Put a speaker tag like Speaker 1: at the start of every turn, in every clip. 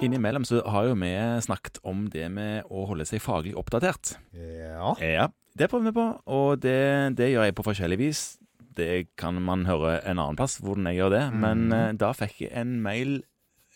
Speaker 1: Innimellom så har jo vi snakket om det med å holde seg faglig oppdatert.
Speaker 2: Ja.
Speaker 1: Ja. Det prøver vi på, og det, det gjør jeg på forskjellig vis. Det kan man høre en annen plass hvordan jeg gjør det, men eh, da fikk jeg en mail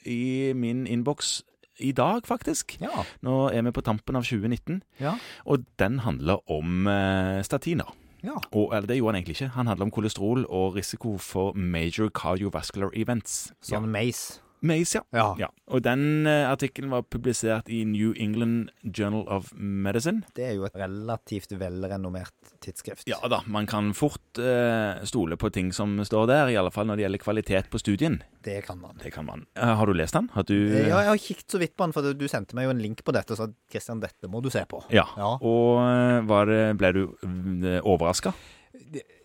Speaker 1: i min innboks i dag, faktisk.
Speaker 2: Ja.
Speaker 1: Nå er vi på tampen av 2019,
Speaker 2: Ja.
Speaker 1: og den handler om eh, statiner.
Speaker 2: Ja.
Speaker 1: Og, eller det gjorde han egentlig ikke. Han handler om kolesterol og risiko for major cardiovascular events.
Speaker 2: Sånn meis.
Speaker 1: Maze, ja.
Speaker 2: Ja.
Speaker 1: Ja, og den eh, artikkelen var publisert i New England Journal of Medicine.
Speaker 2: Det er jo et relativt velrenommert tidsskrift.
Speaker 1: Ja da, man kan fort eh, stole på ting som står der, i alle fall når det gjelder kvalitet på studien.
Speaker 2: Det kan man.
Speaker 1: Det kan man. Eh, har du lest den? Har du
Speaker 2: Ja, jeg har kikket så vidt på den, for du sendte meg jo en link på dette og sa Kristian, dette må du se på.
Speaker 1: Ja.
Speaker 2: Ja.
Speaker 1: Og eh, var det, ble du mm, overraska?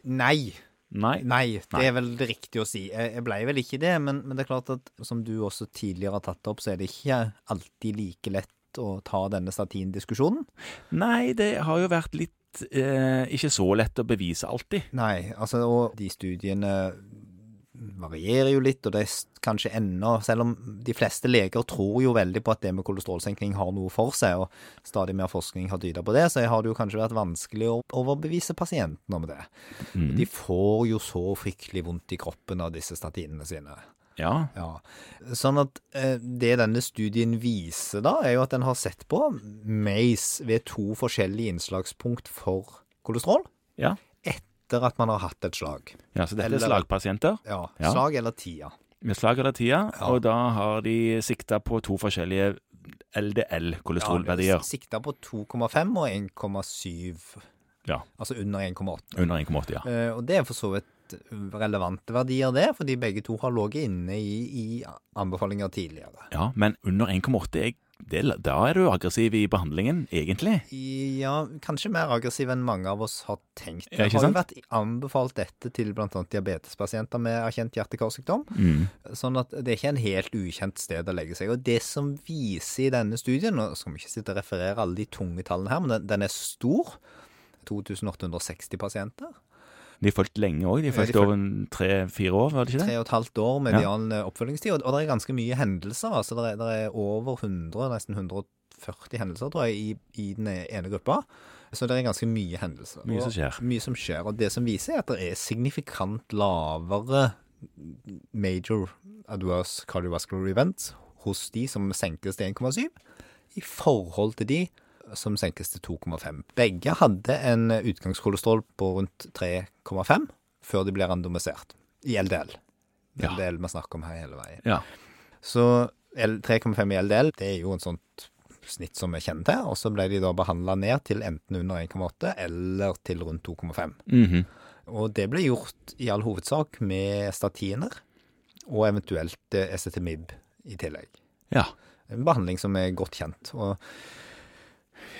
Speaker 2: Nei.
Speaker 1: Nei.
Speaker 2: Nei, det
Speaker 1: Nei.
Speaker 2: er vel riktig å si. Jeg jeg ble vel ikke det, men, men det er klart at som du også tidligere har tatt opp, så er det ikke alltid like lett å ta denne statindiskusjonen.
Speaker 1: Nei, det har jo vært litt eh, ikke så lett å bevise alltid.
Speaker 2: Nei, altså, og de studiene varierer jo litt, og det er s- kanskje ennå, selv om de fleste leger tror jo veldig på at det med kolesterolsenkning har noe for seg, og stadig mer forskning har tyda på det, så har det jo kanskje vært vanskelig å overbevise pasienten om det. De får jo så fryktelig vondt i kroppen av disse statinene sine.
Speaker 1: Ja.
Speaker 2: Ja. Sånn at eh, det denne studien viser da, er jo at den har sett på mais ved to forskjellige innslagspunkt for kolesterol
Speaker 1: Ja,
Speaker 2: etter at man har hatt et slag.
Speaker 1: ja så dette
Speaker 2: Eller-
Speaker 1: er slagpasienter.
Speaker 2: Ja,
Speaker 1: Ja.
Speaker 2: slag eller tida.
Speaker 1: Med slag eller tida, og da har de sikta på to forskjellige LDL-kolesterolverdier.
Speaker 2: Sikta på 2,5 og 1,7,
Speaker 1: Ja,
Speaker 2: altså under 1,8.
Speaker 1: Under 1,8, ja.
Speaker 2: Eh, Og det er for så vidt relevante verdier det, fordi begge to har ligget inne i, i anbefalinger tidligere.
Speaker 1: ja. Men under 1,8 er det, Da er du aggressiv i behandlingen, egentlig.
Speaker 2: Ja, kanskje mer aggressiv enn mange av oss har tenkt.
Speaker 1: Ja, ikke
Speaker 2: det har jo
Speaker 1: sant?
Speaker 2: vært anbefalt dette til bl.a. diabetespasienter med erkjent hjerte-karsykdom. Sånn at det er ikke en helt ukjent sted å legge seg. Og det som viser i denne studien, nå skal vi ikke sitte og referere alle de tunge tallene her, men den, den er stor. 2860 pasienter.
Speaker 1: De fulgte lenge òg. De fulgte
Speaker 2: føl-
Speaker 1: over en tre-fire år, var det ikke det?
Speaker 2: Tre og et halvt år median eh, oppfølgingstid. Og, og det er ganske mye hendelser. altså Det er, det er over 100, nesten 140 hendelser, tror jeg, i, i den ene gruppa. Så det er ganske mye hendelser.
Speaker 1: Mye som
Speaker 2: Og
Speaker 1: skjer.
Speaker 2: Mye som skjer. Og det som viser, er at det er signifikant lavere major adverse cardiovascular events hos de som senkes til 1,7, i forhold til de som senkes til 2,5. Begge hadde en utgangskolesterol på rundt 3,5 før de ble randomisert i LDL.
Speaker 1: Ja.
Speaker 2: LDL vi snakker om her hele veien.
Speaker 1: Ja.
Speaker 2: Så L- 3,5 i LDL, det er jo en sånt snitt som vi kjenner til, og så ble de da behandla ned til enten under 1,8 eller til rundt 2,5.
Speaker 1: Mhm.
Speaker 2: Og det ble gjort i all hovedsak med statiner, og eventuelt eh, Estetimib i tillegg.
Speaker 1: ja.
Speaker 2: En behandling som er godt kjent. Og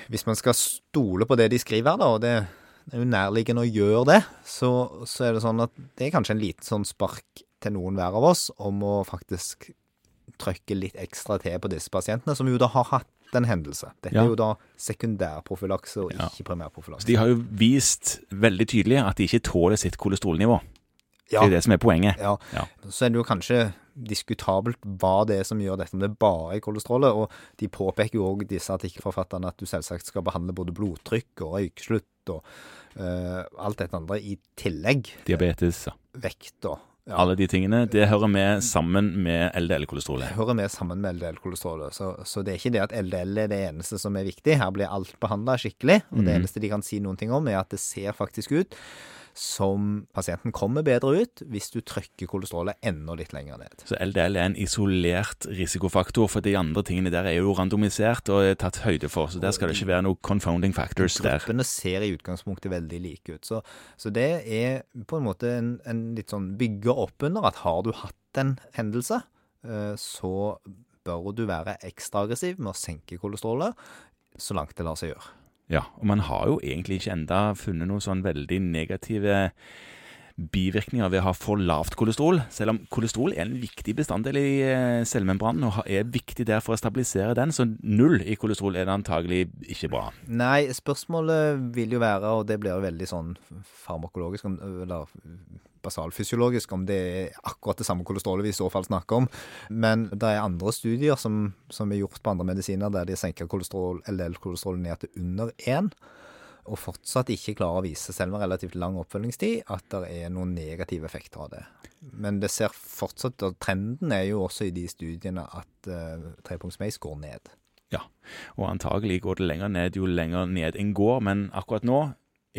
Speaker 2: hvis man skal stole på det de skriver her, da, og det er jo nærliggende å gjøre det, så, så er det sånn at det er kanskje en liten sånn spark til noen hver av oss om å faktisk trykke litt ekstra til på disse pasientene, som jo da har hatt en hendelse. Dette
Speaker 1: Ja.
Speaker 2: er jo da sekundærprofylakse og
Speaker 1: Ja.
Speaker 2: ikke primærprofylakse.
Speaker 1: Så de har jo vist veldig tydelig at de ikke tåler sitt kolesterolnivå.
Speaker 2: Ja.
Speaker 1: Det er det som er poenget.
Speaker 2: Ja.
Speaker 1: Ja.
Speaker 2: Så er det jo kanskje diskutabelt hva det er som gjør dette, om det bare er kolesterolet. Og de påpeker jo òg disse artikkelforfatterne at du selvsagt skal behandle både blodtrykk og røykslutt og eh, alt dette andre i tillegg.
Speaker 1: Diabetes, ja.
Speaker 2: Vekt og ja,
Speaker 1: alle de tingene. Det hører med sammen med LDL-kolesterolet.
Speaker 2: hører med sammen med LDL-kolesterolet. Så, så det er ikke det at LDL er det eneste som er viktig. Her blir alt behandla skikkelig. Og det eneste de kan si noen ting om, er at det ser faktisk ut som pasienten kommer bedre ut hvis du trykker kolesterolet enda litt lenger ned.
Speaker 1: Så LDL er en isolert risikofaktor, for de andre tingene der er jo randomisert og er tatt høyde for, så der skal det ikke være noe confounding factors der.
Speaker 2: Gruppene ser i utgangspunktet veldig like ut. Så, så det er på en måte en, en litt sånn bygge opp under at har du hatt en hendelse, eh, så bør du være ekstra aggressiv med å senke kolesterolet så langt det lar seg gjøre.
Speaker 1: Ja, og man har jo egentlig ikke enda funnet noen sånn veldig negative bivirkninger ved å ha for lavt kolesterol, selv om kolesterol er en viktig bestanddel i eh, cellemembranen og ha- er viktig der for å stabilisere den, så null i kolesterol er det antagelig ikke bra.
Speaker 2: Nei, spørsmålet vil jo være, og det blir jo veldig sånn farmakologisk, om- eller basalfysiologisk, om det er akkurat det samme kolesterolet vi i så fall snakker om. Men det er andre studier som, som er gjort på andre medisiner der de senker kolesterol, LDL-kolesterolet ned til under 1, og fortsatt ikke klarer å vise, selv med relativt lang oppfølgingstid, at det er noen negative effekter av det. Men det ser fortsatt, og trenden er jo også i de studiene at uh, trepunktsmeis går ned.
Speaker 1: Ja, og antagelig går det lenger ned jo lenger ned en går, men akkurat nå,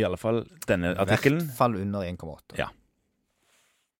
Speaker 1: i alle fall denne
Speaker 2: I hvert
Speaker 1: artikkelen
Speaker 2: fall under 1,8.
Speaker 1: Ja.